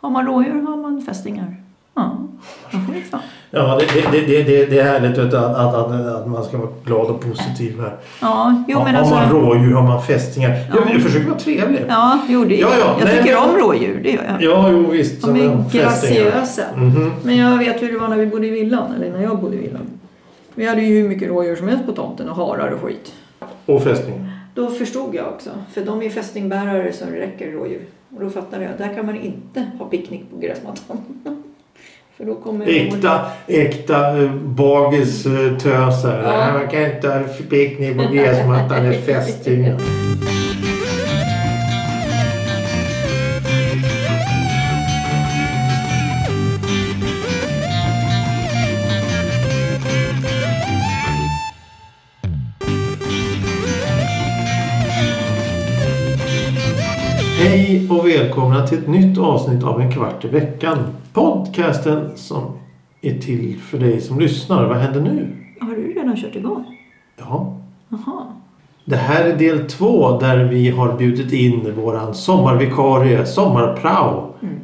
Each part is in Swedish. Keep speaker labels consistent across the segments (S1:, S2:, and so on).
S1: Har man rådjur har man fästingar. Ja, då får vi fan.
S2: Ja, det, det, det, det, det är härligt vet du, att, att, att, att man ska vara glad och positiv här.
S1: Ja, jo
S2: har,
S1: men
S2: har
S1: alltså.
S2: man rådjur har man fästingar.
S1: Ja.
S2: Jag, jag försöker vara trevlig. Ja,
S1: Ja, jo, det,
S2: Ja, ja,
S1: jag
S2: nej,
S1: tycker
S2: men-
S1: om rådjur, det gör jag.
S2: jo visst.
S1: De
S2: men
S1: är
S2: fästingar.
S1: graciösa.
S2: Mhm.
S1: Men jag vet hur det var när vi bodde i villan, eller när jag bodde i villan. Vi hade ju hur mycket rådjur som helst på tomten och harar och skit.
S2: Och fästingar.
S1: Då förstod jag också, för de är fästingbärare som räcker rådjur. Och då fattade jag, där kan man inte ha picknick på gräsmattan. för då kommer
S2: Äkta, äkta eh, bagistösar.
S1: Ja.
S2: Man kan inte ha picknick på gräsmattan. Det är fästingar. Hej och välkomna till ett nytt avsnitt av En kvart i veckan. Podcasten som är till för dig som lyssnar. Vad händer nu?
S1: Har du redan kört igång?
S2: Ja,
S1: Jaha.
S2: det här är del två där vi har bjudit in våran sommarvikarie, sommarprao. eh,
S1: Mm.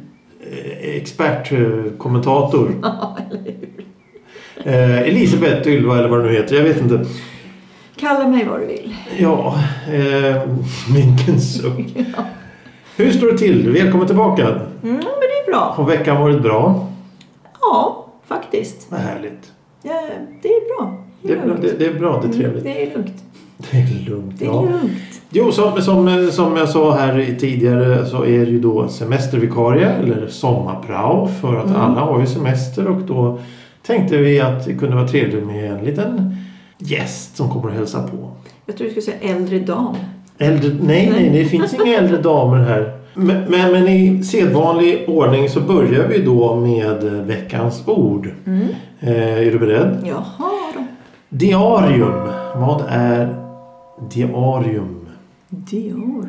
S2: Expertkommentator. eh, Elisabeth Ylva eller vad det nu heter, jag vet inte.
S1: Kalla mig vad du vill.
S2: Ja, eh, minken suck. Hur står det till? Välkommen tillbaka.
S1: Mm, men det är bra.
S2: Har veckan varit bra?
S1: Ja, faktiskt.
S2: Vad härligt.
S1: Ja, det är bra.
S2: Det är bra,
S1: lugnt.
S2: det, det är, bra, det är
S1: Mm,
S2: trevligt.
S1: det är lugnt.
S2: Det är lugnt.
S1: Det är
S2: Ja.
S1: lugnt.
S2: Jo, som, som, som jag sa här i- tidigare så är det ju då semestervikarie eller sommarprao för att
S1: Mm.
S2: alla har ju semester och då tänkte vi att det kunde vara trevligt med en liten gäst som kommer och hälsa på.
S1: Jag tror du skulle säga äldre dam.
S2: Äldre, nej, nej, det finns inga äldre damer här. Men, men, men i sedvanlig ordning så börjar vi då med veckans ord.
S1: Mm.
S2: Eh, är du beredd?
S1: Jaha då.
S2: Diarium. Vad är diarium?
S1: Diarium.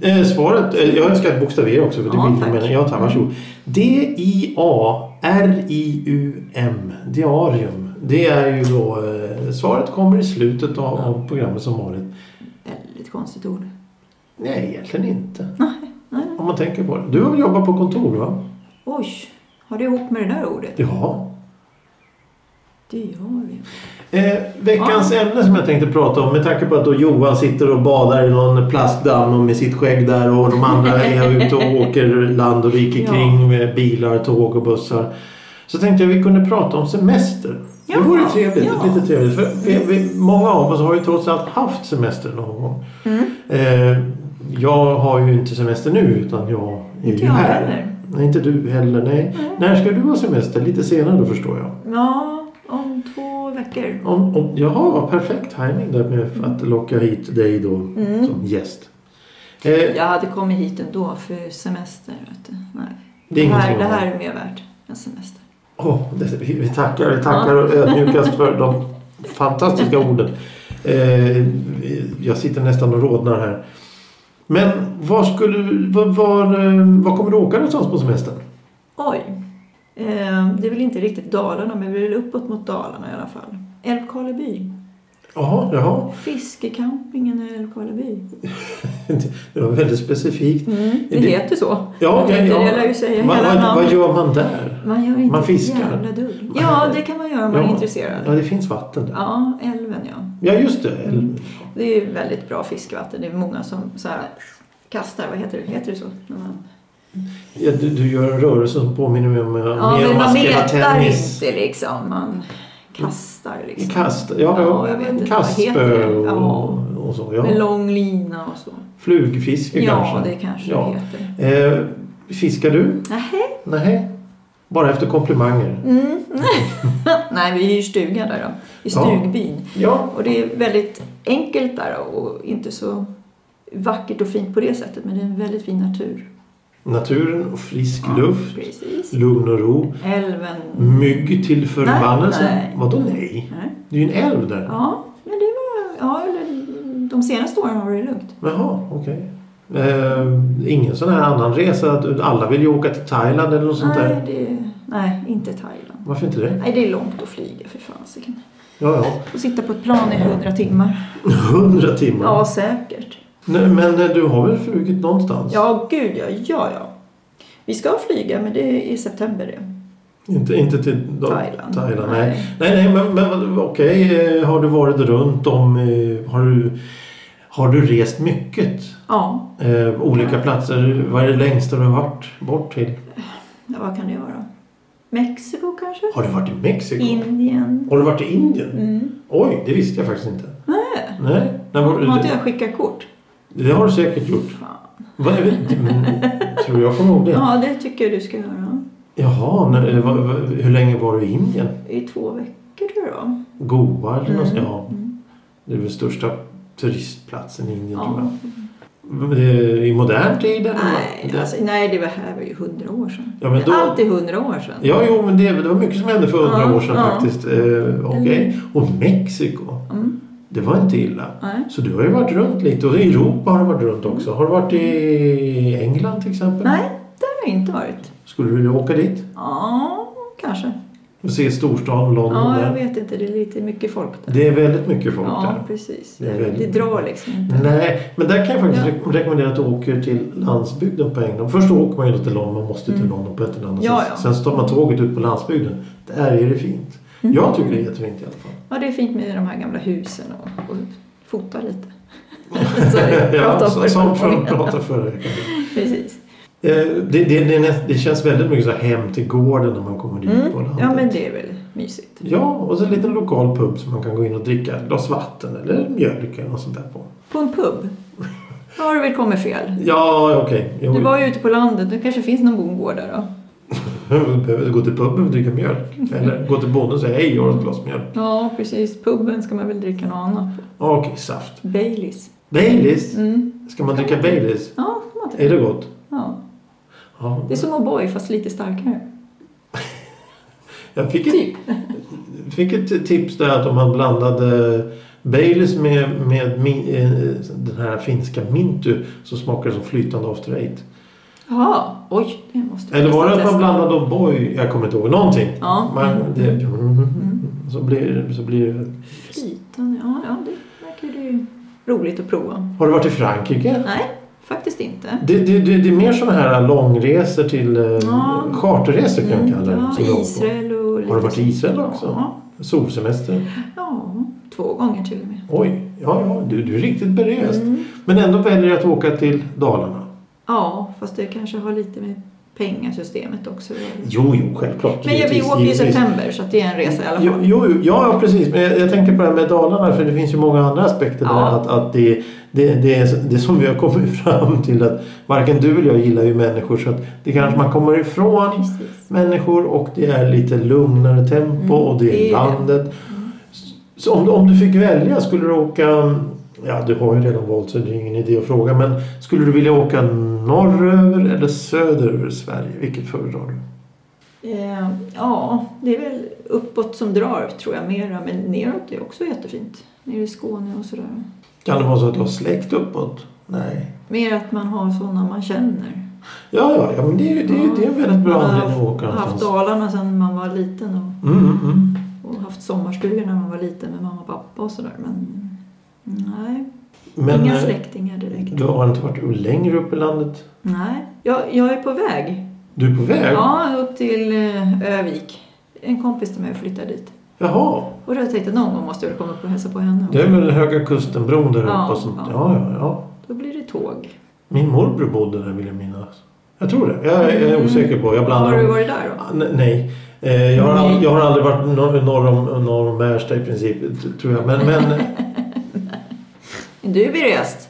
S2: Eh, svaret, eh, jag önskar att bokstavera också för det
S1: Ja,
S2: vill jag
S1: tack.
S2: mena. Ja, tack. Varsågod. D-I-A-R-I-U-M. Diarium. Det är ju då, eh, svaret kommer i slutet av, av programmet som vanligt.
S1: Väldigt konstigt ord.
S2: Nej, egentligen inte.
S1: Nej, nej, nej.
S2: Om man tänker på det. Du har väl jobbat på kontor va?
S1: Oj, har det ihop med det där ordet?
S2: Ja.
S1: Diarium.
S2: Eh, veckans ämne som jag tänkte prata om med tanke på att då Johan sitter och badar i någon plastdamm och med sitt skägg där och de andra är ute och åker land och rike
S1: Ja.
S2: kring med bilar, tåg och bussar. Så tänkte jag vi kunde prata om semester.
S1: Ja,
S2: det vore trevligt.
S1: ja.
S2: Lite trevligt. För vi, vi, många av oss har ju trots allt haft semester någon gång.
S1: Mm.
S2: Eh, jag har ju inte semester nu utan jag är
S1: Inte
S2: ju
S1: jag
S2: här.
S1: heller. Mm.
S2: Nej, inte du heller. Nej.
S1: Nej.
S2: När ska du ha semester? Lite senare då förstår jag.
S1: Ja, om två veckor.
S2: Om, om, jaha, vad perfekt timing där med att locka hit dig då
S1: Mm.
S2: som gäst. Eh,
S1: Jag hade kommit hit ändå för semester. Vet du. Nej.
S2: Det är
S1: här,
S2: ingenting
S1: det
S2: att ha.
S1: här är mer värt än semester.
S2: åh, det, vi, vi tackar, vi tackar ödmjukast för de fantastiska orden. Eh, jag sitter nästan och rodnar här. Men var, skulle, du- var, var, eh, var kommer du åka någonstans på semestern?
S1: Oj. Eh, det är väl inte riktigt Dalarna, men vi är väl uppåt mot Dalarna i alla fall. Älvkarleby.
S2: Jaha, jaha.
S1: Fiskecampingen i Älvkarleby.
S2: Det var väldigt specifikt.
S1: Mm, det,
S2: Det-
S1: heter så.
S2: Ja,
S1: det,
S2: okej,
S1: heter-
S2: ja.
S1: det lär ju säga
S2: Vad-
S1: hela
S2: vad, vad
S1: namnet.
S2: gör man där?
S1: Man gör inte
S2: Man
S1: ett
S2: fiskar.
S1: jävla dugg. Ja, det kan man göra om man är
S2: Ja. Ja,
S1: intresserad.
S2: det finns vatten där.
S1: Ja, Mm. älven ja.
S2: Ja, just det. Älven.
S1: Det är ju väldigt bra fiskevatten. Det är många som så här kastar, vad heter det, heter det så? När man...
S2: Ja, du, du gör en rörelse som påminner mig om, eh,
S1: Ja,
S2: mer
S1: men
S2: om
S1: man
S2: att spela
S1: letar
S2: tennis. Mm.
S1: inte liksom. Man kastar liksom.
S2: Kast, ja,
S1: Ja, jag
S2: ja,
S1: vet inte, vad heter
S2: kastspö
S1: det?
S2: och,
S1: Ja.
S2: och så. Ja.
S1: Med lång lina och så.
S2: Flugfiske
S1: ja,
S2: kanske.
S1: det kanske
S2: Ja.
S1: det heter.
S2: Eh, fiskar du?
S1: Nähä?
S2: Nej. Bara efter komplimanger.
S1: Mm. Nej, vi hyr stuga där då. I
S2: Ja.
S1: stugbyn.
S2: Ja.
S1: Och det är väldigt enkelt där då, och inte så vackert och fint på det sättet. Men det är en väldigt fin natur.
S2: Naturen och frisk
S1: Ja,
S2: luft. Mm.
S1: Precis.
S2: Lugn och ro.
S1: Älven.
S2: Mygg till förbannelse.
S1: Nej, nej.
S2: Vadå nej?
S1: Nej.
S2: Det är ju en älv där.
S1: Ja, men det var... Ja, eller de senaste åren har det varit lugnt.
S2: Jaha, okej. Eh, ingen sån här annan resa att alla vill ju åka till Thailand eller något sånt
S1: Nej,
S2: där.
S1: det, nej, inte Thailand.
S2: Varför inte det?
S1: Nej, det är långt att flyga för fasiken.
S2: Ja, ja.
S1: Och sitta på ett plan i hundra timmar.
S2: 100 timmar?
S1: Ja, säkert.
S2: Nej, men eh, du har väl flugit någonstans?
S1: Ja, gud ja, ja, ja. Vi ska flyga men det är i september det.
S2: Inte, inte till då,
S1: Thailand.
S2: Thailand nej. Nej, nej, men, men okej. eh, Har du varit runt om? eh, Har du, har du rest mycket?
S1: Ja,
S2: Eh, olika platser? Vad är det längsta du har varit bort till?
S1: ja, vad kan det vara? Mexiko kanske?
S2: Har du varit i Mexiko?
S1: Indien?
S2: Har du varit i Indien?
S1: Mm.
S2: Oj, det visste jag faktiskt inte.
S1: Nej.
S2: Nej, nej men-
S1: Har inte jag skickat kort?
S2: det har du säkert gjort.
S1: Fan.
S2: Vad är det? Mm, Tror jag kommer ihåg det.
S1: Ja, det tycker jag du ska göra.
S2: Jaha, nej, eh, vad- vad- hur länge var du i Indien?
S1: I två veckor tror jag det var.
S2: Goa eller något?
S1: Mm.
S2: Ja,
S1: Mm.
S2: det är väl största turistplatsen i Indien tror jag.
S1: Ja.
S2: Eh, I modern tid? Eller?
S1: Nej,
S2: Det-
S1: alltså, nej, det var här var ju hundra år sedan.
S2: Ja, men då-
S1: Allt är hundra år sedan.
S2: Ja, jo, men det, det var mycket som hände för hundra
S1: Ja,
S2: år sedan
S1: ja.
S2: faktiskt. Eh, Okej. Och Mexiko,
S1: Mm.
S2: det var inte illa.
S1: Nej.
S2: Så du har ju varit runt lite och i Europa har du varit runt också. Har du varit i England till exempel?
S1: nej, där har jag inte varit.
S2: Skulle du vilja åka dit?
S1: Ja, kanske.
S2: Och se storstan London
S1: Ja, jag
S2: där?
S1: vet inte. Det är lite mycket folk där.
S2: Det är väldigt mycket folk
S1: Ja,
S2: där.
S1: precis.
S2: Det är
S1: Det,
S2: väldigt-
S1: det drar liksom inte.
S2: Nej, men där kan jag faktiskt
S1: Ja.
S2: re- rekommendera att du åker till landsbygden på England. Först åker man ju då till London, man måste till
S1: Mm.
S2: London på ett eller annat
S1: Ja,
S2: sätt.
S1: ja.
S2: Sen tar man tåget ut på landsbygden. Där är det fint.
S1: Mm.
S2: Jag tycker det är jättefint i alla fall.
S1: Ja, det är fint med de här gamla husen och, och fota lite. Sorry, prata om
S2: ja,
S1: förra
S2: som
S1: gången.
S2: för, pratade förra veckan.
S1: Precis.
S2: Eh, Det, det, det, är näst, det känns väldigt mycket så här hem till gården när man kommer dit på
S1: Mm.
S2: landet.
S1: Ja, men det är väl mysigt.
S2: Ja, och så en liten lokal pub som man kan gå in och dricka ett glas vatten eller mjölk eller något sånt där på.
S1: På en pub? Då har du väl kommit fel.
S2: Ja, okej. Jo,
S1: Du var ju ute på landet. Det kanske finns någon bondgård där då?
S2: Du behöver inte gå till puben och dricka mjölk. Eller gå till bonden och säga hej, jag har ett glas mjölk.
S1: Ja, precis. Puben ska man väl dricka något annat.
S2: Ja, Okej, saft.
S1: Baileys.
S2: Baileys?
S1: Mm.
S2: Ska man dricka Baileys?
S1: Ja, kan man
S2: Är
S1: tycka.
S2: det gott?
S1: Ja.
S2: Ja.
S1: Det är som O'boy fast lite starkare.
S2: Jag fick ett,
S1: Typ.
S2: fick ett tips där att om man blandade Baileys med, med min, eh, den här finska Mintu så smakar det som flytande After Eight.
S1: Jaha. Oj, det måste vi
S2: Eller var det att
S1: nästan
S2: man
S1: testa.
S2: blandade O'boy? Jag kommer inte ihåg. Någonting.
S1: Ja. Mm.
S2: Man, det, Mm. så blir, så blir,
S1: Flytande. Ja, ja, det verkar ju roligt att prova.
S2: har du varit i Frankrike?
S1: Nej, faktiskt inte.
S2: Det, det, det, det är mer sådana här långresor till eh,
S1: Ja.
S2: charterresor kan vi
S1: Mm,
S2: kalla det.
S1: ja,
S2: som jag åker på.
S1: Israel och lite
S2: Har du varit i
S1: så.
S2: Israel också?
S1: Ja.
S2: Solsemester?
S1: ja, två gånger till och med.
S2: Oj, ja, ja du, du är riktigt beröst.
S1: Mm.
S2: Men ändå väljer att åka till Dalarna.
S1: Ja, fast det kanske har lite med pengasystemet också att göra.
S2: Jo, jo, självklart.
S1: Men vi
S2: Givetvis,
S1: åker i
S2: givetvis.
S1: september så att det är en resa i alla
S2: Jo,
S1: fall.
S2: jo, jo, ja, ja, precis. Men jag, jag tänker på det här med Dalarna för det finns ju många andra aspekter
S1: Ja.
S2: där. Att, att det, det, det, är, det som vi har kommit fram till att varken du eller jag gillar ju människor så att det kanske man kommer ifrån
S1: Precis.
S2: människor och det är lite lugnare tempo
S1: Mm,
S2: och det
S1: det Mm.
S2: är
S1: är det.
S2: landet. Så om, du- om du fick välja, skulle du åka... Ja, du har ju redan valt så det är ingen idé att fråga. Men skulle du vilja åka norröver eller söderöver Sverige? Vilket föredrar du?
S1: Eh, ja, det är väl uppåt som drar tror jag mera, men neråt är också jättefint. Nere i Skåne och sådär.
S2: Kan det vara så att du har släkt uppåt? Nej.
S1: Mer att man har sådana man känner.
S2: Ja, ja, ja men det är ju det är, ju- det är en väldigt bra anledning att åka
S1: Jag har haft
S2: någonstans.
S1: Dalarna sedan man var liten och
S2: Mm, mm, mm.
S1: och haft sommarstugor när man var liten med mamma och pappa och sådär. Men nej,
S2: Men
S1: inga
S2: eh,
S1: släktingar direkt.
S2: du har inte varit längre upp i landet?
S1: Nej, jag, jag är på väg.
S2: Du är på väg?
S1: Ja, upp till eh, Övik. En kompis till mig flyttar dit.
S2: Jaha.
S1: Och då tänkte jag någon gång måste jag väl komma upp och hälsa på henne.
S2: Det är väl Höga Kustenbron där
S1: Ja,
S2: uppe? Som, ja.
S1: ja.
S2: Ja, ja.
S1: Då blir det tåg.
S2: Min morbror bodde där vill jag minnas. Jag tror det. Jag, jag är
S1: Mm.
S2: osäker på. Jag blandar
S1: Har du
S2: dem.
S1: varit där då?
S2: Ah, ne- Nej. Eh, Jag har,
S1: Nej.
S2: ald- jag har aldrig varit norr, norr, om, norr om Märsta i princip. t- Tror jag. Men, men
S1: Du är berest.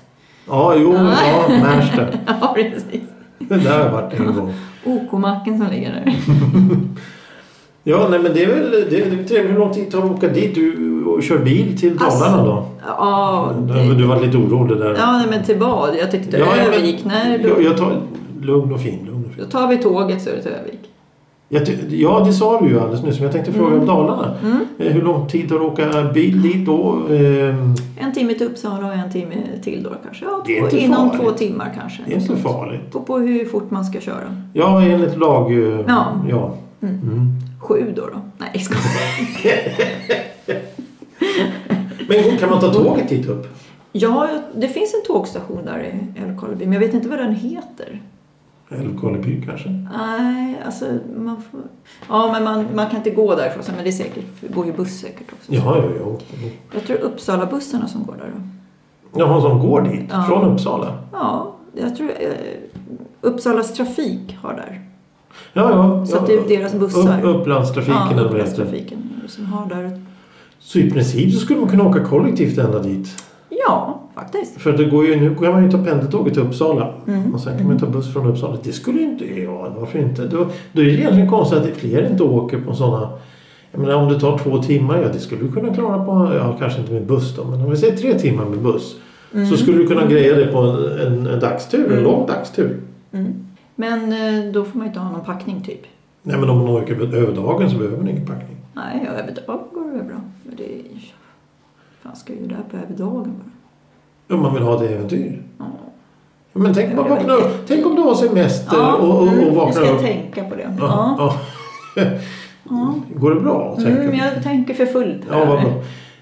S2: ja, jo, ja, Märsta.
S1: ja, precis.
S2: Det där har jag varit en gång.
S1: OK-macken som ligger där.
S2: Ja, nej, men det är väl det, det är väl trevligt. Hur lång tid tar det att åka dit? Du och kör bil till
S1: Alltså,
S2: Dalarna då?
S1: Ja,
S2: Du,
S1: det,
S2: du var lite orolig där.
S1: ja nej, men till vad? Jag tyckte
S2: Ja, ja, men-
S1: Övik, nej
S2: jag,
S1: då,
S2: jag tar, lugn och fin. Lugn och
S1: då
S2: fin.
S1: tar vi tåget söderut till Övik.
S2: Jag ty- ja, det sa du ju alldeles nyss. Men jag tänkte fråga om Dalarna.
S1: Mm.
S2: Eh, Hur lång tid tar det att åka bil dit då? Ehm,
S1: En timme till Uppsala och en timme till då kanske. Ja,
S2: Det är
S1: två,
S2: inte
S1: inom
S2: farligt.
S1: två timmar kanske.
S2: Det är inte farligt.
S1: Gå på hur fort man ska köra.
S2: Ja, enligt lag... eh,
S1: Ja.
S2: ja.
S1: Mm.
S2: Mm.
S1: Sju då då? Nej, jag skojar.
S2: Men kan man ta tåget dit upp?
S1: Ja, det finns en tågstation där i Älvkarleby men jag vet inte vad den heter.
S2: Älvkarleby kanske?
S1: Nej, alltså man får... Ja, men man, man kan inte gå därifrån. så- Men det är säkert, det går ju buss säkert också.
S2: Ja, ja, ja.
S1: Jag tror Uppsala-bussarna som går där. då.
S2: Jaha, som går dit?
S1: Ja.
S2: Från Uppsala?
S1: Ja, jag tror eh, Uppsalas trafik har där.
S2: Ja, ja.
S1: Så
S2: ja.
S1: att det är deras bussar.
S2: Upp, Upplandstrafiken
S1: ja,
S2: eller vad det heter.
S1: Upplandstrafiken som har där.
S2: Så i princip så skulle man kunna åka kollektivt ända dit.
S1: Ja, faktiskt.
S2: För det går ju, nu kan man ju ta pendeltåget till Uppsala.
S1: Mm.
S2: Och sen kan man ta buss från Uppsala. Det skulle ju inte... Ja, varför inte? Då, då är det egentligen konstigt att det fler inte åker på sådana... Jag menar om det tar två timmar, ja det skulle du kunna klara på... Ja, kanske inte med buss då, men om vi säger tre timmar med buss. Så skulle du kunna greja det på en, en, en dagstur, en
S1: Mm.
S2: lång dagstur.
S1: Mm. Men eh, då får man ju inte ha någon packning typ.
S2: Nej men om man åker över dagen så behöver man ingen packning.
S1: Nej, jag vet inte. går det väl bra. Men det är... Fan, ska ju där på över dagen bara.
S2: Om man vill ha det äventyr.
S1: Ja.
S2: Ja, Men tänk, om man
S1: Det var
S2: vaknar, upp- tänk om du har semester och, och,
S1: mm,
S2: och
S1: nu ska
S2: vaknar
S1: jag
S2: upp.
S1: tänka på det.
S2: Ja,
S1: Ja.
S2: ja.
S1: Ja.
S2: Går det bra? att tänka
S1: Mm,
S2: på?
S1: jag tänker för fullt på
S2: Ja,
S1: det
S2: vad
S1: här.
S2: bra.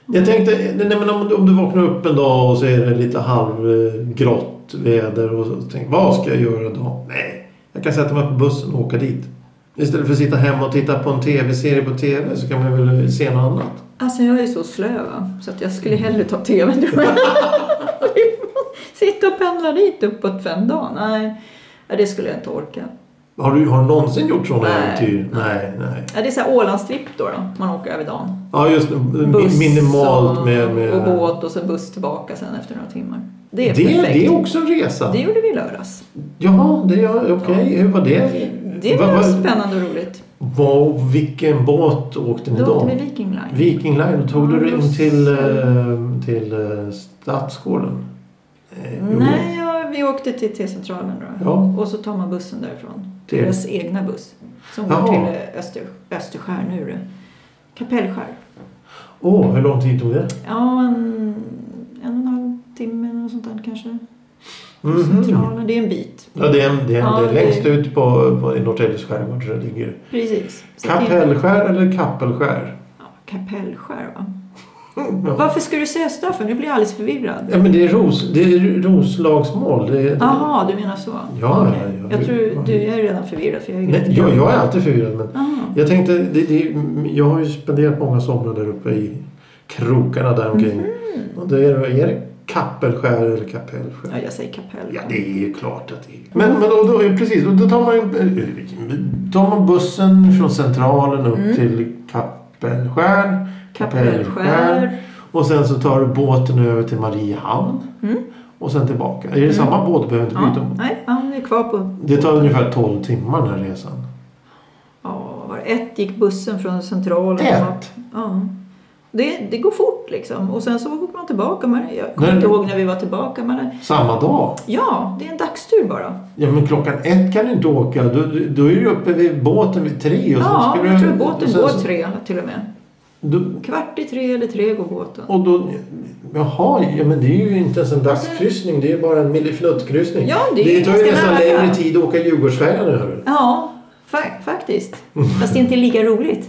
S2: Jag tänkte, nej, men om, om du vaknar upp en dag och så är det lite halvgrått väder och så tänker vad ska jag göra då? Nej, jag kan sätta mig på bussen och åka dit. Istället för att sitta hemma och titta på en tv-serie på tv så kan man väl se något annat.
S1: Alltså jag är så slö va? så att jag skulle hellre ta tvn tror jag. Sitta och pendla dit uppåt fem dagar. Nej, Ja, det skulle jag inte orka.
S2: Har du, har du någonsin gjort sådana
S1: Nej.
S2: äventyr? Nej, nej.
S1: Ja, det är så här Ålandstripp då, då, man åker över dagen.
S2: Ja, just mi-
S1: Buss
S2: minimalt
S1: och,
S2: med... med
S1: och båt och sen buss tillbaka sen efter några timmar. Det är
S2: det,
S1: perfekt.
S2: det är också en resa.
S1: Det gjorde vi i lördags.
S2: Jaha, det är okej. Hur var det?
S1: Det
S2: Va-
S1: var
S2: va-
S1: spännande och roligt.
S2: Vad, vilken båt åkte ni
S1: Då
S2: då?
S1: åkte vi Viking Line.
S2: Viking Line, då tog
S1: Ja,
S2: du dig in
S1: buss.
S2: till, eh, till eh, Stadsgården? Eh, jo.
S1: Nej, ja, vi åkte till T-centralen då.
S2: Ja.
S1: Och så tar man bussen därifrån.
S2: Till-
S1: Deras egna buss. Som går
S2: Jaha.
S1: till eh, Öster, Österskär nu. Kapellskär.
S2: Åh, hur lång tid tog det?
S1: Ja, en, en och en halv timme eller något sånt där kanske.
S2: Mhm.
S1: Centralen, det är en bit.
S2: Ja, det är, en- det är, en-
S1: Mm-hmm. Ja,
S2: det är
S1: det-
S2: längst ut på, på, i Norrtäljes skärgård så det ligger.
S1: Precis. Så det är-
S2: Kapellskär eller Kappelskär?
S1: Ja, Kapellskär va?
S2: Ja.
S1: Varför ska du säga så där för? Nu blir jag alldeles förvirrad.
S2: ja, men det är, ros, det är roslagsmål. Det är,
S1: Jaha, du menar så?
S2: Ja,
S1: Okej.
S2: ja, ja.
S1: Jag tror du är redan förvirrad för jag är ju
S2: Nej,
S1: inte-
S2: jag, jag är alltid förvirrad men
S1: Jaha.
S2: Jag tänkte, det, det, jag har ju spenderat många somrar där uppe i krokarna där omkring. Och det är, är det Kappelskär eller Kapellskär?
S1: Mhm. Ja, jag säger kapell.
S2: Ja, det är ju klart att det är. Men, men då, då, precis, och då tar man, ju- tar man bussen från Centralen upp
S1: Mm.
S2: till Kappelskär.
S1: Kapellskär.
S2: Och sen så tar du båten över till Mariehamn.
S1: Mm.
S2: Och sen tillbaka. Är det samma båt? Behöver inte byta.
S1: Ja, nej, han är kvar på
S2: Det tar ungefär 12 timmar den här resan.
S1: Ja, var det ett gick bussen från centralen.
S2: Ett?
S1: Ja. Det, det går fort liksom. Och sen så åker man tillbaka. Man, jag kommer
S2: Men-
S1: inte ihåg när vi var tillbaka. Men
S2: Samma dag?
S1: ja, det är en dagstur bara.
S2: Ja men klockan ett kan du inte åka. Då, då är du uppe vid båten vid tre. Och sen
S1: ja,
S2: ska
S1: jag
S2: du, alltså-
S1: tror båten
S2: och sen
S1: går
S2: så-
S1: tre till och med.
S2: då-
S1: Kvart i tre eller tre går båten.
S2: Och då, jaha, ja, men det är ju inte ens en dagskryssning. Det är ju bara en millifluttkryssning.
S1: Alltså- Ja, det är ju
S2: tar ju
S1: ganska
S2: nästan
S1: nära.
S2: längre tid att åka Djurgårdsfärjan över.
S1: Ja, fa- faktiskt. Fast det är inte lika roligt.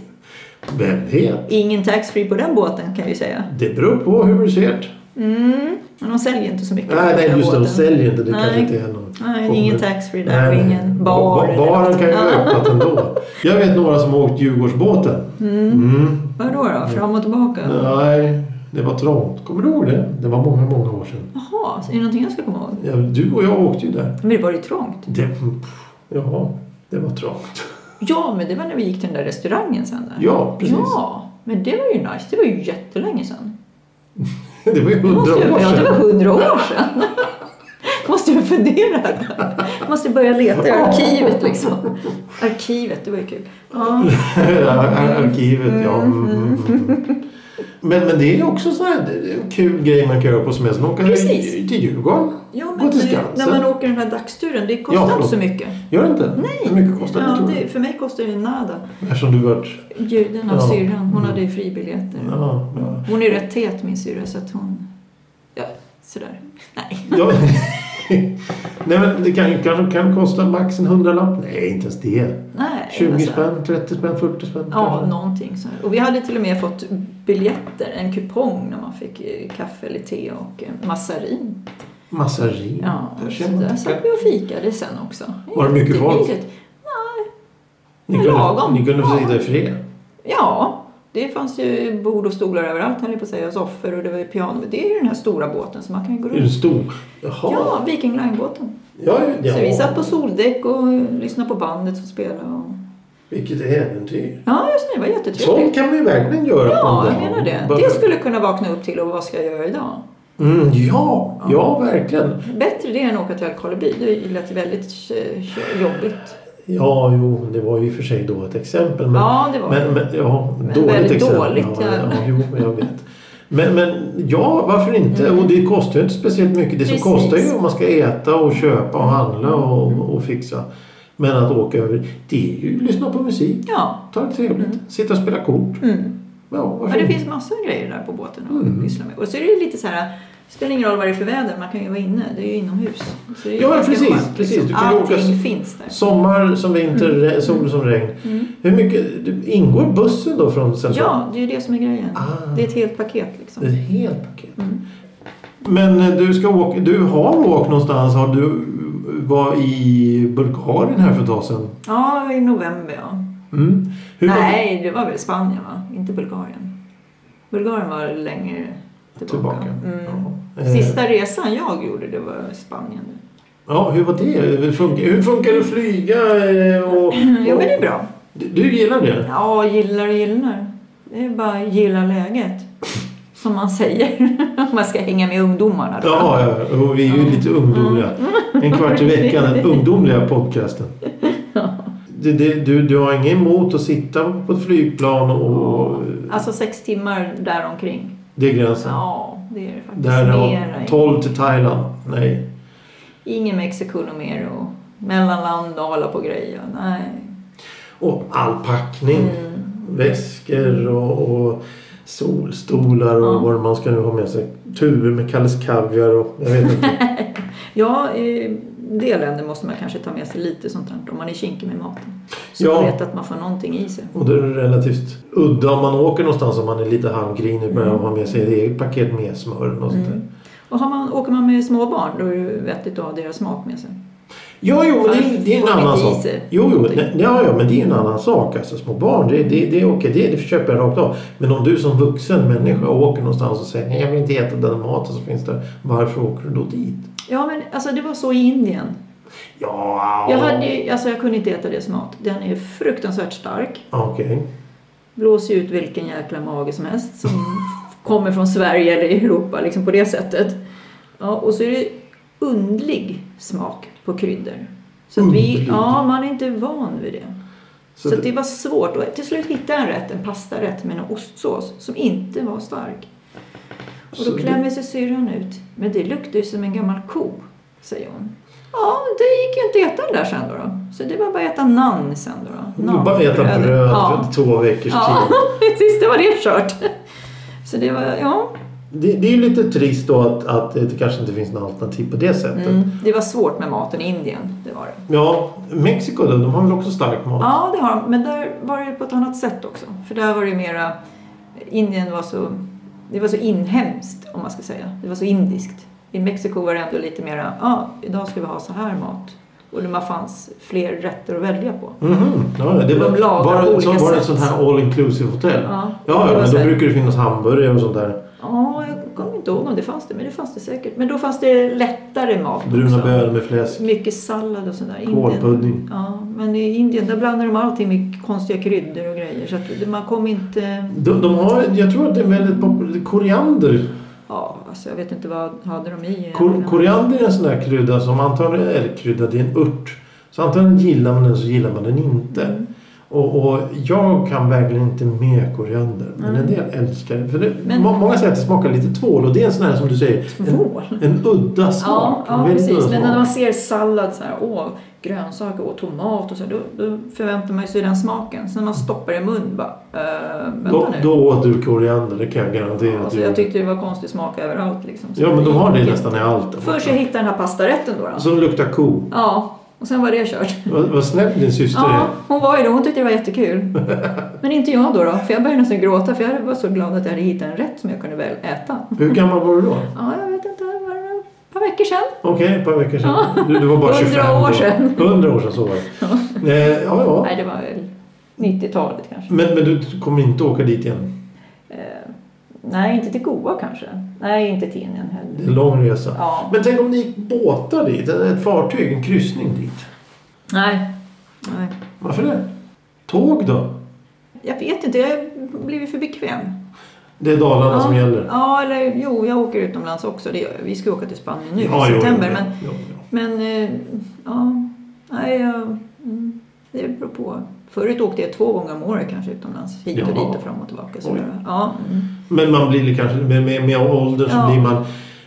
S2: Vem vet?
S1: Ingen taxfree på den båten kan vi säga.
S2: Det beror på hur du ser det.
S1: Mm, men de säljer inte så mycket. på
S2: Nej,
S1: den
S2: nej just det. De
S1: båten.
S2: säljer inte. Det
S1: Nej.
S2: kanske inte är någon...
S1: Nej,
S2: kommer.
S1: ingen taxfree där och ingen bar.
S2: Ba-
S1: eller
S2: Baren
S1: något.
S2: kan ju vara
S1: Ja.
S2: öppnat ändå. Jag vet några som har åkt Djurgårdsbåten. Mm.
S1: Vadå då? Fram och tillbaka?
S2: Nej, det var trångt. Kommer du ihåg det? Det var många, många år sedan.
S1: Jaha, så är det någonting jag ska komma ihåg?
S2: Ja, du och jag åkte ju där.
S1: Men det var ju trångt.
S2: Det, ja, det var trångt.
S1: Ja, men det var när vi gick till den där restaurangen sen. Där.
S2: Ja, precis.
S1: Ja, men det var ju nice. Det var ju jättelänge sedan.
S2: Det var ju
S1: Det
S2: hundra
S1: måste ju,
S2: år
S1: ja, det var
S2: sedan.
S1: hundra år sedan. måste ju fundera. måste börja leta i arkivet liksom. Arkivet, det var ju kul. Ja,
S2: Ar- Arkivet, ja. Mm, mm, mm. Men, men det är också sån här det är en kul grej man kan göra på semestern. Åka
S1: Precis.
S2: till Djurgården.
S1: ja men
S2: Gå till
S1: när, när
S2: Skansen.
S1: man åker den här dagsturen, det kostar
S2: Ja, förlåt.
S1: inte så mycket.
S2: Gör det inte? Nej. Hur mycket kostar det,
S1: Ja,
S2: tror
S1: det, för mig kostar det nada.
S2: du? Eftersom du varit...
S1: Ju- Den här
S2: Ja.
S1: syrran, hon
S2: Mm.
S1: hade ju fribiljetter.
S2: Ja, ja.
S1: Hon är rätt het min syrra så att hon... Ja, sådär. Nej.
S2: ja. Nej men det kan, kan, kan kosta max en hundralapp. Nej, inte ens det.
S1: Nej
S2: 20
S1: alltså.
S2: spänn, 30 spänn, 40 spänn.
S1: Ja,
S2: kanske.
S1: någonting så här. Och vi hade till och med fått biljetter, en kupong när man fick eh, kaffe eller te och eh, massarin.
S2: Massa rim.
S1: Ja,
S2: Där
S1: så
S2: ser man.
S1: där satt vi och fikade sen också.
S2: Var det mycket folk?
S1: Jättemysigt.
S2: Ni kunde,
S1: lagom.
S2: ni kunde få sitta i fred.
S1: Ja, det fanns ju bord och stolar överallt höll jag på att säga. och Soffor och det var ju piano. Det är ju den här stora båten så man kan ju gå
S2: Är du
S1: runt.
S2: stor? Jaha.
S1: Ja, Viking Line-båten.
S2: Ja, ja.
S1: Så vi satt på soldäck och lyssnade på bandet som spelade. Och...
S2: Vilket äventyr.
S1: Ja, just det. Det var
S2: Sånt
S1: jättetrevligt.
S2: kan man ju verkligen göra på en
S1: Ja,
S2: dag.
S1: jag menar det.
S2: Bara-
S1: Det skulle jag kunna vakna upp till och vad ska jag göra idag?
S2: Mm, ja, ja, verkligen.
S1: Bättre det än att åka till Älvkarleby. Det lät väldigt eh, jobbigt.
S2: Ja, jo, det var ju i och för sig då ett exempel. Men,
S1: Ja, det var det.
S2: men, men, ja,
S1: Men
S2: dåligt
S1: väldigt
S2: exempel.
S1: dåligt,
S2: ja,
S1: ja.
S2: ja, jo, men jag vet. Men, men ja, varför inte? Och det kostar ju inte speciellt mycket. Det som
S1: Mm. Precis. Mm.
S2: kostar är ju om man ska äta och köpa och handla och, och fixa. Men att åka över, det är ju lyssna på musik,
S1: Ja.
S2: ta det trevligt, sitta och spela kort.
S1: Mm.
S2: Ja,
S1: Ja,
S2: varför
S1: det
S2: inte?
S1: finns massor av grejer där på båten att
S2: Mm.
S1: pyssla med. Och så är det lite så här, det spelar ingen roll vad det är för väder, man kan ju vara inne, det är ju inomhus. Så det är ju
S2: Ja,
S1: ganska
S2: precis,
S1: skönt,
S2: precis.
S1: liksom.
S2: Du kan ju åka
S1: Allting
S2: s-
S1: finns där.
S2: Sommar som vinter, re- sol som regn.
S1: Mm.
S2: Hur mycket, du- ingår bussen då från central?
S1: Ja, det är ju det som är grejen.
S2: Alltså- Ah.
S1: Det är ett helt paket liksom.
S2: Det är ett helt paket.
S1: Mm.
S2: Men eh, du, ska åka, du har åkt någonstans. Har du var i Bulgarien här för ett tag sedan.
S1: Ja, i november ja.
S2: Mm. Hur var-
S1: Nej, det var väl Spanien va? Inte Bulgarien. Bulgarien var längre tillbaka.
S2: Tillbaka.
S1: Mm.
S2: Ja. Eh,
S1: Sista resan jag gjorde, det var Spanien.
S2: ja, hur var det? Hur funkar, hur funkar det att flyga? eh, Och,
S1: Jo, men det är
S2: och,
S1: bra.
S2: du, du gillar det?
S1: Ja, gillar och gillar. Det är bara gilla läget. Som man säger. Om man ska hänga med ungdomarna. Då.
S2: Ja, ja, och vi är ju lite ungdomliga.
S1: Mm.
S2: En kvart i veckan, den ungdomliga podcasten. Det, det, du, du har inget emot att sitta på ett flygplan och...
S1: Alltså sex timmar däromkring.
S2: Det är gränsen.
S1: Ja, det är det faktiskt.
S2: Där
S1: Mer.
S2: har 12 till Thailand. Nej.
S1: Ingen Mexiko och mer och mellanland och hålla på och grejer. Nej.
S2: Och all packning. Väskor och, och solstolar och
S1: Ja.
S2: vad man ska nu ha med sig. Tuber med Kalles Kaviar och jag vet inte.
S1: Ja, i det länder måste man kanske ta med sig lite sånt där om man är kinkig med maten. Så
S2: Ja.
S1: man vet att man får någonting i sig.
S2: och det är relativt udda om man åker någonstans om man är lite halvgrinig börjar man ha med sig ett eget paket med smör och sånt där.
S1: Och har man, åker man med små barn då är det vettigt att ha deras smak med sig.
S2: Ja, jo, men det, det är en
S1: Får
S2: annan
S1: lite
S2: sak.
S1: is i.
S2: Jo, jo, ne- ja, ja, men det är en annan sak. Alltså, små barn, det, det, det är okej. Det, det köper jag rakt av. Men om du som vuxen människa åker någonstans och säger nej, jag vill inte äta den maten som finns där. Varför åker du då dit?
S1: Ja, men alltså det var så i Indien.
S2: Ja,
S1: Jag, hade, ju- alltså jag kunde inte äta deras mat. Den är fruktansvärt stark.
S2: Okej.
S1: Blåser ju ut vilken jäkla mage som helst som kommer från Sverige eller Europa liksom på det sättet. Ja, och så är det undlig smak på kryddor. Så att vi,
S2: Undlig?
S1: ja, man är inte van vid det.
S2: Så
S1: Så, att
S2: det-
S1: det var svårt. Och till slut hittade jag en rätt, en pastarätt med en ostsås som inte var stark. Och
S2: Så
S1: då
S2: det-
S1: klämmer sig syrran ut. Men det luktar ju som en gammal ko, säger hon. Ja, det gick ju inte att äta den där sen då. då. Så det var bara att äta nan sen då. då.
S2: Du
S1: Naan,
S2: bara äta bröd,
S1: Ja,
S2: för två veckors
S1: ja
S2: tid.
S1: precis. Det var det kört. Så det var, ja.
S2: Det, det är ju lite trist då att, att det kanske inte finns något alternativ på det sättet.
S1: Mm, det var svårt med maten i Indien, det var det.
S2: Ja, Mexiko då, de har väl också stark mat?
S1: Ja, det har de. Men där var det på ett annat sätt också. För där var det ju mera... Indien var så... Det var så inhemskt, om man ska säga. Det var så indiskt. I Mexiko var det ändå lite mera, ja, idag ska vi ha så här mat. Och det fanns fler rätter att välja på.
S2: Mhm, Ja, det var,
S1: De lagar
S2: var,
S1: på
S2: det, så,
S1: olika
S2: var det ett
S1: sätt.
S2: sånt här all inclusive hotell?
S1: Ja, det
S2: Ja, ja
S1: var
S2: men
S1: så
S2: då
S1: här-
S2: brukar det finnas hamburgare och sånt där.
S1: Ja, jag kommer inte ihåg om det fanns det, men det fanns det säkert. Men då fanns det lättare mat
S2: Bruna
S1: också.
S2: bönor med fläsk.
S1: Mycket sallad och sådär.
S2: Kålpudding.
S1: Ja, men i Indien där blandar de allting med konstiga kryddor och grejer. Så att man kom inte...
S2: De, de har, jag tror att det är väldigt populärt. Koriander.
S1: Ja, alltså jag vet inte vad hade de i. eh,
S2: Kor, koriander är en sån där krydda som antagligen är krydda, det är en ört. Så antagligen gillar man den så gillar man den
S1: Mm.
S2: inte. Och, och jag kan verkligen inte med koriander. Men en del älskar det. För det
S1: Men-
S2: må, många säger att det smakar lite tvål och det är en sån här som du säger. En,
S1: Tvål?
S2: en udda smak.
S1: Ja, ja
S2: en väldigt udda
S1: precis. Men när
S2: smak.
S1: man ser sallad så här, åh, grönsaker och tomat och så, här, då, då förväntar man sig den smaken. Sen när man stoppar i mun bara, äh, vänta
S2: då,
S1: nu.
S2: då åt du koriander, det kan jag garantera. att
S1: alltså,
S2: du
S1: jag
S2: gjorde.
S1: tyckte det var konstig smak överallt liksom. Så
S2: Ja, men de har det
S1: gick
S2: nästan i
S1: inte.
S2: allt. där
S1: Först jag
S2: borta.
S1: hittade den här pastarätten då. då.
S2: Som luktar ko.
S1: Ja, och sen var det kört.
S2: Vad, vad snäll din syster
S1: Ja,
S2: är.
S1: hon var ju det. Hon tyckte det var jättekul. Men inte jag då, då för jag började nästan gråta för jag var så glad att jag hade hittat en rätt som jag kunde väl äta.
S2: Hur gammal var du då?
S1: Ja, jag vet inte. Var det par veckor sedan.
S2: Okej, ett par veckor sedan. Du, du var bara 25
S1: Hundra år
S2: då.
S1: sedan.
S2: 100 år sedan, så var det. Eh, ja, ja.
S1: Nej, det var väl 90-talet kanske.
S2: Men, men du kommer inte åka dit igen?
S1: Eh, nej, inte till Goa kanske. Nej, inte till Indien
S2: Det
S1: heller.
S2: är en lång resa.
S1: Ja.
S2: Men tänk om ni gick båtar dit? Ett fartyg? En kryssning dit?
S1: Nej. nej.
S2: Varför det? Tåg då?
S1: Jag vet inte, jag har blivit för bekväm.
S2: Det är Dalarna som gäller.
S1: Ja, eller jo, jag åker utomlands också. Det gör jag. Vi ska ju åka till Spanien nu i
S2: jo, jo,
S1: september.
S2: jo,
S1: men
S2: jo, jo.
S1: men eh, ja, nej, jag, mm, det beror på. Förut åkte jag två gånger om året kanske utomlands. Hit och
S2: Jaha.
S1: dit och fram och tillbaka. Så
S2: Oj.
S1: där. ja, mm.
S2: Men man blir kanske, med, med, med ålder så
S1: Ja.
S2: blir man...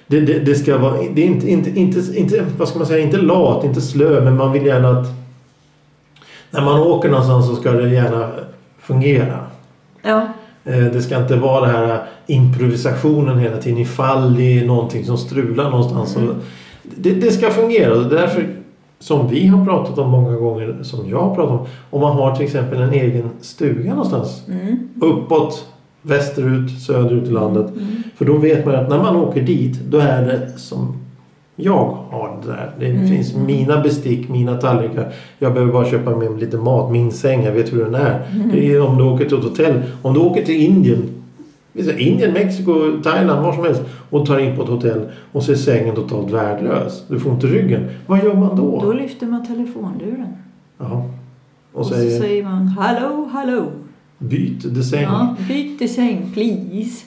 S2: Det, det, det ska vara, det är inte, inte, inte, inte, vad ska man säga, inte lat, inte slö, men man vill gärna att... När man åker någonstans så ska det gärna fungera.
S1: ja,
S2: Eh, Det ska inte vara den här improvisationen hela tiden ifall det är någonting som strular någonstans. Så Det, det ska fungera. Det är därför som vi har pratat om många gånger, som jag har pratat om. Om man har till exempel en egen stuga någonstans.
S1: mm,
S2: Uppåt, västerut, söderut i landet.
S1: mm,
S2: För då vet man att när man åker dit, då är det som jag har det där. Det
S1: Mm.
S2: finns mina bestick, mina tallrikar. Jag behöver bara köpa med mig lite mat, min säng, jag vet hur den är.
S1: Mm.
S2: Det är om du åker till ett hotell. Om du åker till Indien, vi säger Indien, Mexiko, Thailand, var som helst och tar in på ett hotell och så är sängen totalt värdelös. Du får ont i ryggen. Vad gör man då?
S1: Mm. Då lyfter man telefonluren.
S2: Ja.
S1: Och
S2: Och
S1: så
S2: säger
S1: säger man hallå, hallå.
S2: byt de säng.
S1: Ja, byt till säng please.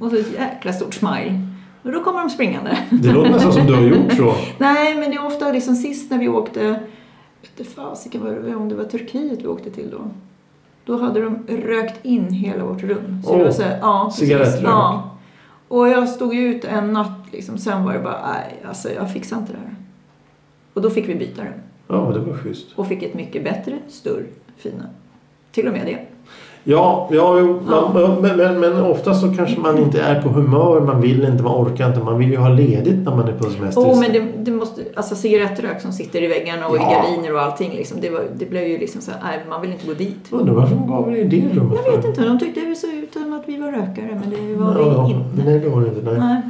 S1: Och så ett jäkla stort smile. Och då kommer de springande.
S2: Det låter nästan som du har gjort så.
S1: Nej, men det är ofta liksom sist när vi åkte, vet du fasiken var det- om det var Turkiet vi åkte till då. Då hade de rökt in hela vårt rum. Så det
S2: Åh,
S1: var så här, ja, precis.
S2: cigarettrök.
S1: Ja. Och jag stod ju ut en natt liksom, sen var det bara, nej alltså jag fixar inte det här. Och då fick vi byta rum.
S2: Ja, men det var schysst.
S1: Och fick ett mycket bättre, större, fina. Till och med det.
S2: Ja, ja, jo,
S1: Ja.
S2: Man, men, men, men ofta så kanske man inte är på humör, man vill inte, man orkar inte. Man vill ju ha ledigt när man är på semester.
S1: Åh, men det, det måste, alltså cigarettrök som sitter i väggarna och
S2: Ja.
S1: i gardiner och allting. Liksom, det, var, det blev ju liksom så här, nej man vill inte gå dit.
S2: Undrar varför de gav er det rummet
S1: Jag vet inte, de tyckte vi såg ut som att vi var rökare men det var
S2: ja,
S1: vi
S2: ja.
S1: inte.
S2: Nej, det var det inte. Nej.
S1: Nej.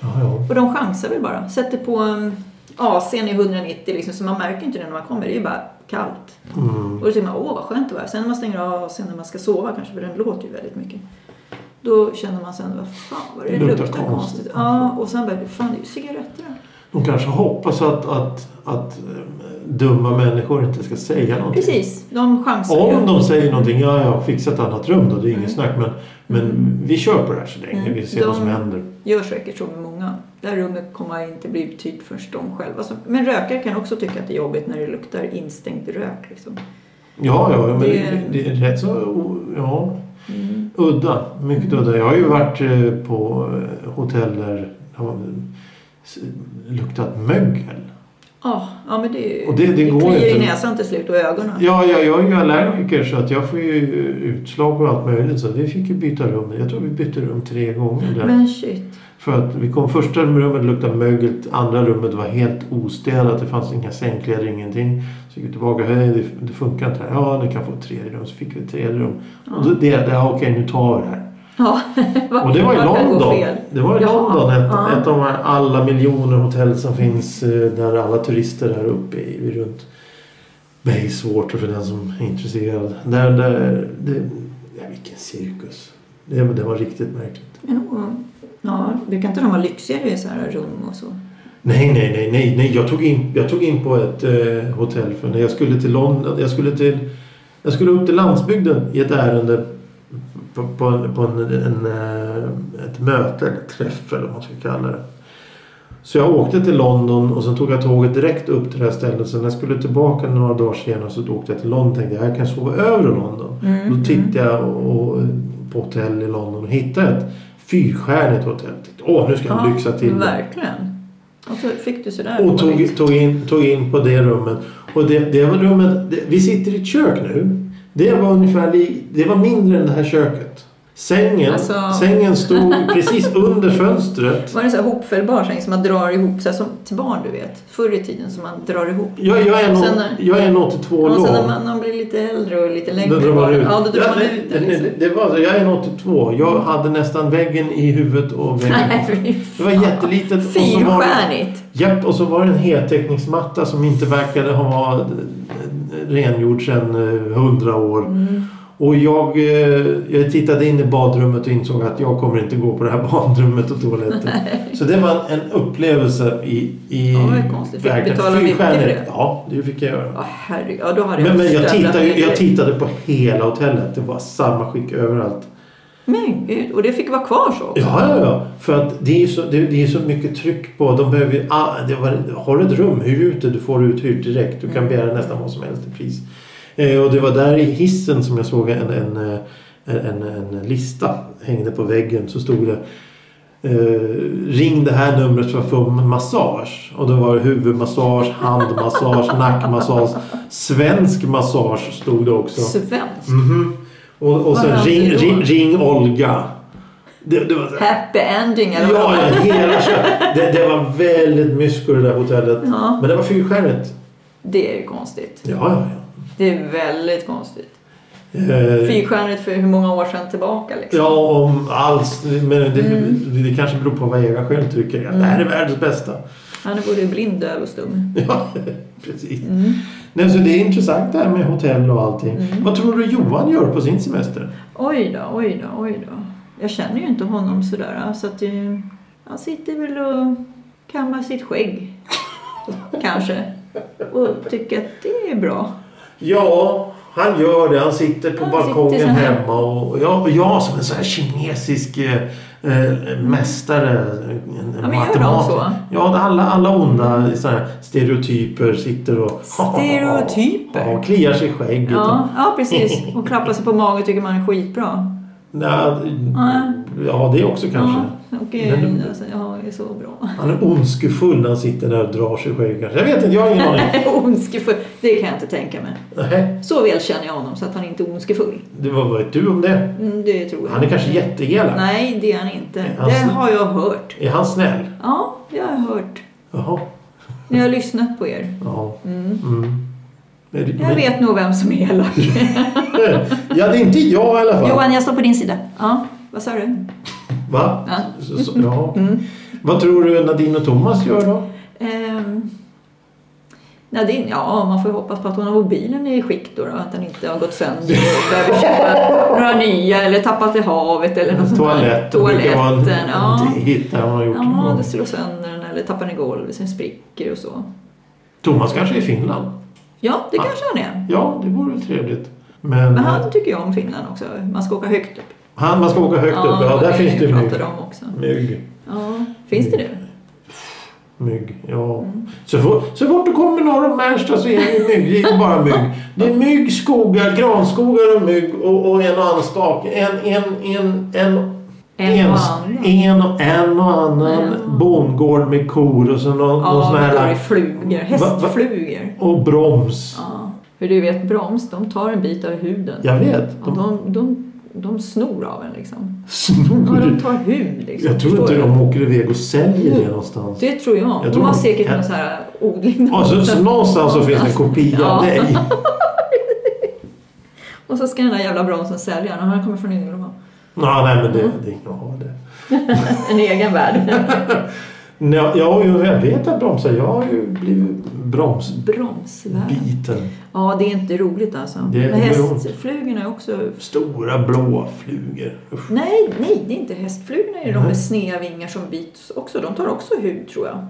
S2: Ja, ja.
S1: Och de chansar väl bara. Sätter på um, AC'n i 190 liksom, så man märker inte det när man kommer. Det är ju bara kallt.
S2: Mm.
S1: Och då tycker man, åh vad skönt det var. Sen när man stänger av AC'n när man ska sova kanske, för den låter ju väldigt mycket. Då känner man sen, vad fan vad det,
S2: Det luktar
S1: luktar konstigt.
S2: konstigt.
S1: Ja, och sen bara, fan det är ju cigaretter.
S2: De kanske hoppas att, att, att eh, dumma människor inte ska säga någonting.
S1: Precis, de chansar
S2: Om
S1: ju.
S2: de säger någonting, ja jag har fixat ett annat rum då, det är inget snack. Men, men vi kör på det här så länge,
S1: Mm.
S2: vi ser
S1: De-
S2: vad som händer.
S1: Gör säkert så med många. Det här rummet kommer inte bli betytt först de själva. som- Men rökare kan också tycka att det är jobbigt när det luktar instängd rök. Liksom.
S2: Ja, ja, men det,
S1: Det-
S2: det är rätt så... o- Ja.
S1: Mm.
S2: Udda, mycket udda. Jag har ju varit eh, på eh, hotell där det har s- luktat mögel.
S1: Ja, ja, men det, är ju-
S2: Och det- det går
S1: kliar
S2: inte.
S1: i näsan till slut och i ögonen.
S2: Ja, ja, jag är ju allergiker så att jag får ju utslag och allt möjligt. Så vi fick ju byta rum. Jag tror vi bytte rum tre gånger där.
S1: Men shit.
S2: För att vi kom första rummet luktade mögel, andra rummet var helt ostädat. Det fanns inga sängkläder, ingenting. Så gick vi tillbaka. Hej, det, det funkar inte här. Ja, ni kan få ett tredje rum. Så fick vi ett tredje rum. Och då, det, det, ja, okej, nu tar vi det här.
S1: Ja, vad-
S2: Och det var i
S1: vad kan gå
S2: London.
S1: fel?
S2: Det var i
S1: Ja,
S2: London. Ett,
S1: ja.
S2: ett av de här alla miljoner hotell som finns eh, där alla turister är uppe i runt Bayswater för den som är intresserad. Där, där, det, ja, vilken cirkus. Det, det var riktigt märkligt.
S1: Men, oh, ja, brukar inte de vara lyxigare i så här rum och så?
S2: Nej, nej, nej, nej, nej. Jag tog in, jag tog in på ett eh, hotell för när jag skulle till London. Jag skulle till, jag skulle upp till landsbygden i ett ärende på, på, en, på en, en, eh, ett möte eller träff eller vad man ska kalla det. Så jag åkte till London och sen tog jag tåget direkt upp till det här stället. Sen när jag skulle tillbaka några dagar senare så åkte jag till London och tänkte jag, jag kan sova över i London.
S1: Mm,
S2: Då tittade jag och, och, på hotell i London och hittade ett fyrstjärnigt hotell. Tänkte, Åh, nu ska jag lyxa till det.
S1: Verkligen. Och så fick du sådär.
S2: Och
S1: dåligt.
S2: tog, tog, in, tog in på det rummet. Och det, det var rummet, det, vi sitter i ett kök nu. Det var ungefär, li, det var mindre än det här köket. Sängen,
S1: Alltså-
S2: sängen stod precis under fönstret.
S1: Var det så här hopfällbar säng som man drar ihop, så här, som till barn du vet, förr i tiden som man drar ihop.
S2: Jag, jag, är, nog,
S1: Sen när-
S2: jag är 82
S1: Och sen
S2: lång.
S1: när man, när man blir lite äldre och lite längre
S2: Då drar man
S1: barn-
S2: ut.
S1: Ja, då drar
S2: Ja,
S1: man
S2: nej,
S1: ut den.
S2: nej,
S1: Liksom.
S2: Det var så. Jag är en 82. Jag hade nästan väggen i huvudet och väggen.
S1: Nej, fy
S2: Det var jättelitet. Och så var det,
S1: Fyrstjärnigt.
S2: japp, och så var det en heltäckningsmatta som inte verkade ha eh, varit rengjord sedan eh, hundra år.
S1: Mm.
S2: Och jag, eh, jag tittade in i badrummet och insåg att jag kommer inte gå på det här badrummet och toaletten. Så det var en upplevelse i, i
S1: Ja, det är konstigt. Fick
S2: verkligen.
S1: betala mycket för
S2: Fyrstjärnigt.
S1: det?
S2: Ja, det fick jag göra.
S1: Ja, herregud. Ja, då hade
S2: Men, men jag,
S1: stövlat
S2: tittade, ju-
S1: ner
S2: jag
S1: direkt.
S2: tittade på hela hotellet. Det var samma skick överallt.
S1: Men gud, och det fick vara kvar så också.
S2: Ja, ja, ja. För att det är ju så, det, det är så mycket tryck på. De behöver, ju- ah, det var, har du ett rum, hyr ut det. Du får det uthyrt direkt. Du
S1: Mm.
S2: kan begära nästan vad som helst i pris. Eh, och det var där i hissen som jag såg en, en, eh, en, en lista hängde på väggen. Så stod det eh, ring det här numret för att få massage. Och då var det huvudmassage, handmassage, nackmassage, svensk massage stod det också.
S1: Svenskt.
S2: Mhm. Och, och sen
S1: Vad
S2: ring,
S1: hände då?
S2: ring, ring Olga. Det, det var så här,
S1: Happy ending
S2: Mm. ja,
S1: eller vad
S2: ja, hela kö- det, det var väldigt mysko det där hotellet.
S1: Ja.
S2: Men det var fyrstjärnigt.
S1: Det är ju konstigt.
S2: Ja, ja, ja.
S1: Det är väldigt konstigt.
S2: Eh,
S1: Fyrstjärnigt för hur många år sedan tillbaka liksom.
S2: ja, om alls. Men det, det, det kanske beror på vad Egan själv tycker. Det här är världens bästa.
S1: Han är både blind, döv och stum. Mm.
S2: Ja, precis. Nej, så det är intressant det här med hotell och allting. Vad tror du Johan gör på sin semester?
S1: Oj då, oj då, oj då. Jag känner ju inte honom sådär. Så att det, han sitter väl och kammar sitt skägg. Kanske. Och tycker att det är bra.
S2: Ja, han gör det. Han sitter på
S1: Han
S2: balkongen
S1: sitter så här.
S2: hemma. Och jag, och jag som en sån här kinesisk eh, eh, mästare. En, en
S1: Ja, men gör de
S2: matematiker.
S1: så?
S2: Ja, det- alla, alla onda såna här stereotyper sitter och...
S1: Stereotyper?
S2: Ja, kliar sig i skägget. och-
S1: Ja, ja precis. Och klappar sig på magen och tycker man är skitbra.
S2: Nej,
S1: Nej.
S2: ja, det också kanske.
S1: Ja, och
S2: Men-
S1: alltså, ja, är så bra.
S2: Han är ondskefull när han sitter där och drar sig i skägget. Jag vet inte, jag har ingen aning.
S1: ondskefull, det kan jag inte tänka mig.
S2: Nej.
S1: Så väl känner jag honom så att han inte är ondskefull.
S2: Det var, vad vet du om det?
S1: Mm, det tror jag.
S2: Han är kanske Alltså- jätteelak.
S1: Nej, det är han inte.
S2: Han-
S1: Det har jag hört.
S2: Är han snäll?
S1: Ja, det har jag hört.
S2: Jaha.
S1: När jag har lyssnat på er.
S2: Ja.
S1: Mm.
S2: Mm. Men-
S1: Jag
S2: men-
S1: vet nog vem som är elak.
S2: Ja, det är inte jag i alla fall.
S1: Johan, jag står på din sida. Ja, vad sa du?
S2: Va?
S1: Ja.
S2: Så, så, ja.
S1: Mm.
S2: Vad tror du Nadine och Thomas gör då?
S1: Ehm, Nadine, ja man får ju hoppas på att hon har mobilen i skick då, då att den inte har gått sönder och behöver köpa några nya eller tappat i havet eller något sånt där.
S2: Toaletten. Det brukar vara en,
S1: Toaletten, ja.
S2: en hit där hon har gjort.
S1: Ja, det slår sönder den eller tappar den i golvet, sen spricker och så.
S2: Thomas kanske är i Finland.
S1: Ja, det
S2: Ja.
S1: kanske han är.
S2: Ja, det vore väl trevligt. Men,
S1: Men
S2: han,
S1: han tycker jag om Finland också. Man ska åka högt upp.
S2: man ska åka högt upp. Ja, där finns det mygg.
S1: pratar om också.
S2: Mygg.
S1: Ja, finns det det?
S2: Mygg, ja.
S1: Mm.
S2: Så, fort, så fort du kommer norr om Märsta så är det ju mygg. Det är ju bara mygg. Det är mygg, skogar, granskogar och mygg och, och en och annan stak. En, en, en, en,
S1: En och
S2: ens-
S1: annan.
S2: en, och- en och annan
S1: Ja.
S2: bondgård med kor och så någon, någon
S1: Ja,
S2: sån
S1: men då är det
S2: här.
S1: flugor.
S2: Va- va-
S1: Hästflugor.
S2: Och broms.
S1: Ja. För du vet, broms, de tar en bit av huden.
S2: Jag vet.
S1: Ja,
S2: De
S1: de, de, de snor av en liksom. Ja, de
S2: snor.
S1: tar hud liksom.
S2: Jag tror
S1: Förstår
S2: inte
S1: du?
S2: de åker iväg och säljer det någonstans.
S1: Det tror jag.
S2: tror
S1: de har
S2: de-
S1: säkert
S2: Ja.
S1: någon sån här odling.
S2: Ja, så, så någonstans så finns det en kopia av
S1: Alltså, Ja.
S2: dig.
S1: Och så ska den där jävla bromsen sälja den. Han kommer från Yngelholm.
S2: Ja, nej men det, det är ingen ja, det.
S1: En egen värld.
S2: Nej, ja, jo, jag vet att bromsar. Jag har ju blivit bromsbiten.
S1: Bromsvärlden. Ja, det är inte roligt alltså.
S2: Det är-
S1: Men
S2: det gör ont.
S1: hästflugorna är också...
S2: Stora blåa flugor. Usch.
S1: Nej, nej, det är inte hästflugorna. Det är de
S2: Nej.
S1: med sneda vingar som bits också. De tar också hud tror jag.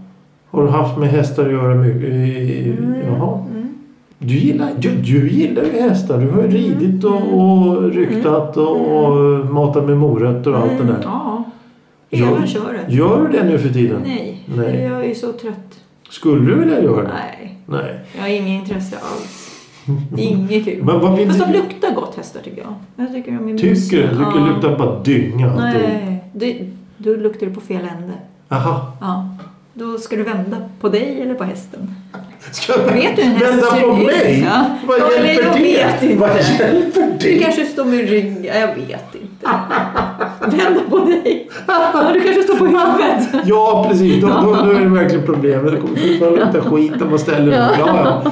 S2: Har du haft med hästar att göra mycket? Eh,
S1: Mm,
S2: Jaha. Du gillar, du, du gillar ju hästar. Du har
S1: Mm,
S2: ju ridit och, och ryktat och, och matat med morötter och
S1: Mm.
S2: allt det där.
S1: Ja.
S2: Gör-
S1: Hela köret.
S2: Gör du det nu för tiden?
S1: Nej,
S2: Nej.
S1: jag är så trött.
S2: Skulle du vilja göra det?
S1: Nej,
S2: Nej.
S1: jag har inget intresse alls. Det är inget kul.
S2: Men vad vill
S1: Fast de
S2: du?
S1: luktar gott hästar tycker jag. Jag tycker de är
S2: Tycker du?
S1: mysiga.
S2: Du tycker
S1: Ja.
S2: luktar bara dynga. alltihop.
S1: Nej, du, du luktar du på fel ände.
S2: Aha.
S1: Ja. Då ska du vända på dig eller på hästen.
S2: Ska jag
S1: Vet du hur en häst
S2: vända
S1: ser
S2: på
S1: ut?
S2: mig?
S1: Ja.
S2: Vad
S1: Ja, eller
S2: hjälper
S1: jag
S2: det?
S1: vet inte.
S2: Vad hjälper det?
S1: Du kanske står med rygg... ja, Jag vet inte. Vända på dig. Ja, du kanske står på huvudet.
S2: Ja, precis. Då, då, då är det verkligen problemet. Det kommer fortfarande lukta skit om man ställer den. Ja, ja.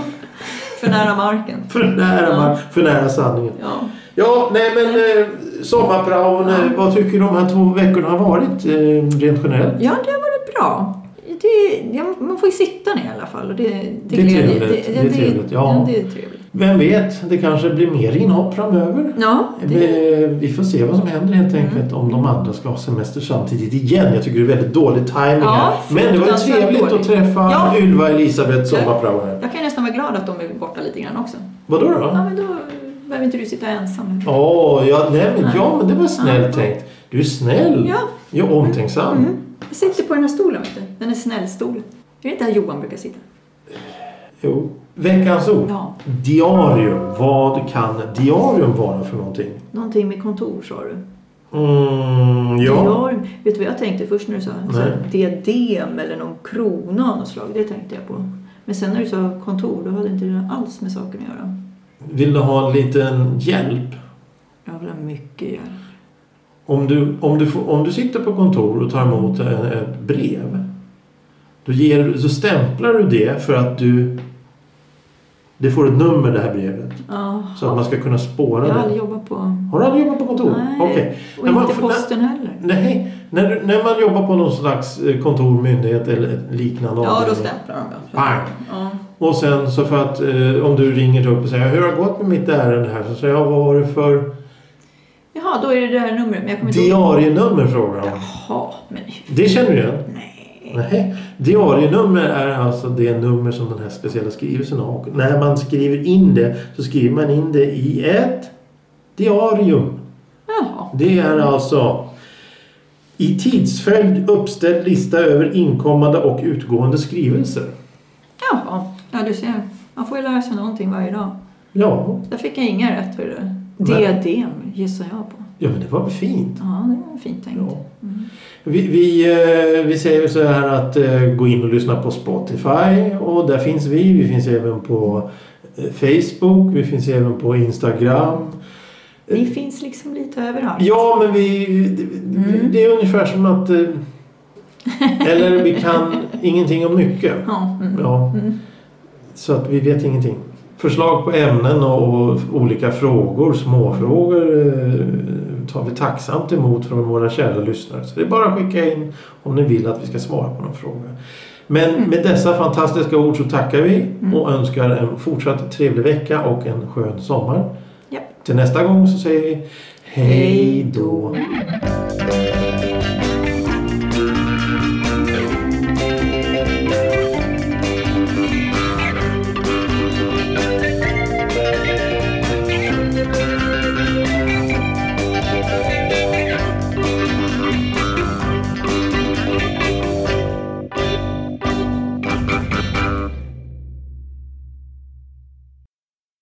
S1: För nära marken.
S2: För nära, man, för nära sanningen.
S1: Ja.
S2: Ja, nej men eh, sommarpraon. Eh, vad tycker du de här två veckorna har varit eh, rent generellt?
S1: ja, det har varit bra. Det, ja, man får ju sitta ner i alla fall. Och det, det,
S2: Det är
S1: glädjer-
S2: trevligt. Det är trevligt, ja.
S1: Ja, det är trevligt.
S2: Vem vet, det kanske blir mer inhopp framöver.
S1: Ja, det, Mm.
S2: Vi, vi får se vad som händer helt enkelt om de andra ska ha semester samtidigt igen. Jag tycker det är väldigt dålig timing
S1: Ja,
S2: här. Men det var ju
S1: fruktansvärt
S2: trevligt att
S1: dåligt.
S2: träffa
S1: Ja.
S2: Ylva Elisabeth sommarprao här.
S1: jag kan nästan vara glad att de är borta lite grann också.
S2: Vadå då?
S1: Ja, men då behöver inte du sitta ensam.
S2: Åh, ja, nej, men, ja, men det var snällt
S1: Ja.
S2: tänkt. Du är snäll.
S1: Ja.
S2: Ja, omtänksam.
S1: Mm. Jag sitter på den här stolen, vet du. Den är snällstol. Är det där Johan brukar sitta?
S2: Jo. Veckans ord.
S1: Ja.
S2: Diarium. Vad kan diarium vara för någonting?
S1: Någonting med kontor, sa du.
S2: Mm, ja.
S1: Diarium. Vet du vad jag tänkte först när du sa så här, diadem eller någon krona av något slag? Det tänkte jag på. Men sen när du sa kontor, då hade inte det alls med saken att göra.
S2: Vill du ha en liten hjälp?
S1: Jag vill ha mycket hjälp.
S2: Om du, om du, får, om du sitter på kontor och tar emot en, ett brev då, ger, så stämplar du det för att du det får ett nummer det här brevet.
S1: Ja.
S2: Så att man ska kunna spåra
S1: Jag har
S2: det.
S1: aldrig jobbat på...
S2: Har du aldrig jobbat på kontor?
S1: Nej.
S2: Okej.
S1: Och
S2: När man-
S1: inte posten heller.
S2: När, nej, när, du- när man jobbar på någon slags eh, kontor, myndighet eller liknande
S1: Ja, då
S2: avdelning.
S1: stämplar de. ja.
S2: Pang!
S1: Ja.
S2: Och sen så för att eh, om du ringer upp och säger hur har det gått med mitt ärende här? Så säger jag vad var det för
S1: Jaha, då är det det här numret. Men jag kommer inte ihåg.
S2: diarienummer? Frågar jag.
S1: Jaha, men...
S2: Det känner du igen?
S1: Nej.
S2: Nej. Diarienummer är alltså det nummer som den här speciella skrivelsen har. Och när man skriver in det så skriver man in det i ett diarium.
S1: Jaha.
S2: Det är alltså i tidsföljd uppställd lista över inkommande och utgående skrivelser.
S1: Jaha. Ja, du ser. Man får ju lära sig någonting varje dag.
S2: Ja,
S1: Där fick jag inga rätt, hörru.
S2: Nej.
S1: Diadem gissar jag på.
S2: ja men det var väl fint.
S1: Ja, det var fint tänkt. Mm.
S2: Ja. Vi, vi, eh, vi säger väl så här att eh, gå in och lyssna på Spotify och där finns vi. Vi finns även på eh, Facebook, vi finns även på Instagram.
S1: Ni finns liksom lite överallt.
S2: Ja, men vi, det-
S1: Mm.
S2: det är ungefär som att... eh, Eller vi kan ingenting om mycket.
S1: Ja, mm.
S2: Ja.
S1: Mm.
S2: Så att vi vet ingenting. Förslag på ämnen och olika frågor, småfrågor eh, tar vi tacksamt emot från våra kära lyssnare. Så det är bara att skicka in om ni vill att vi ska svara på någon fråga. Men med dessa fantastiska ord så tackar vi och önskar en fortsatt trevlig vecka och en skön sommar.
S1: Japp.
S2: Till nästa gång så säger vi hej då.
S1: Hej då.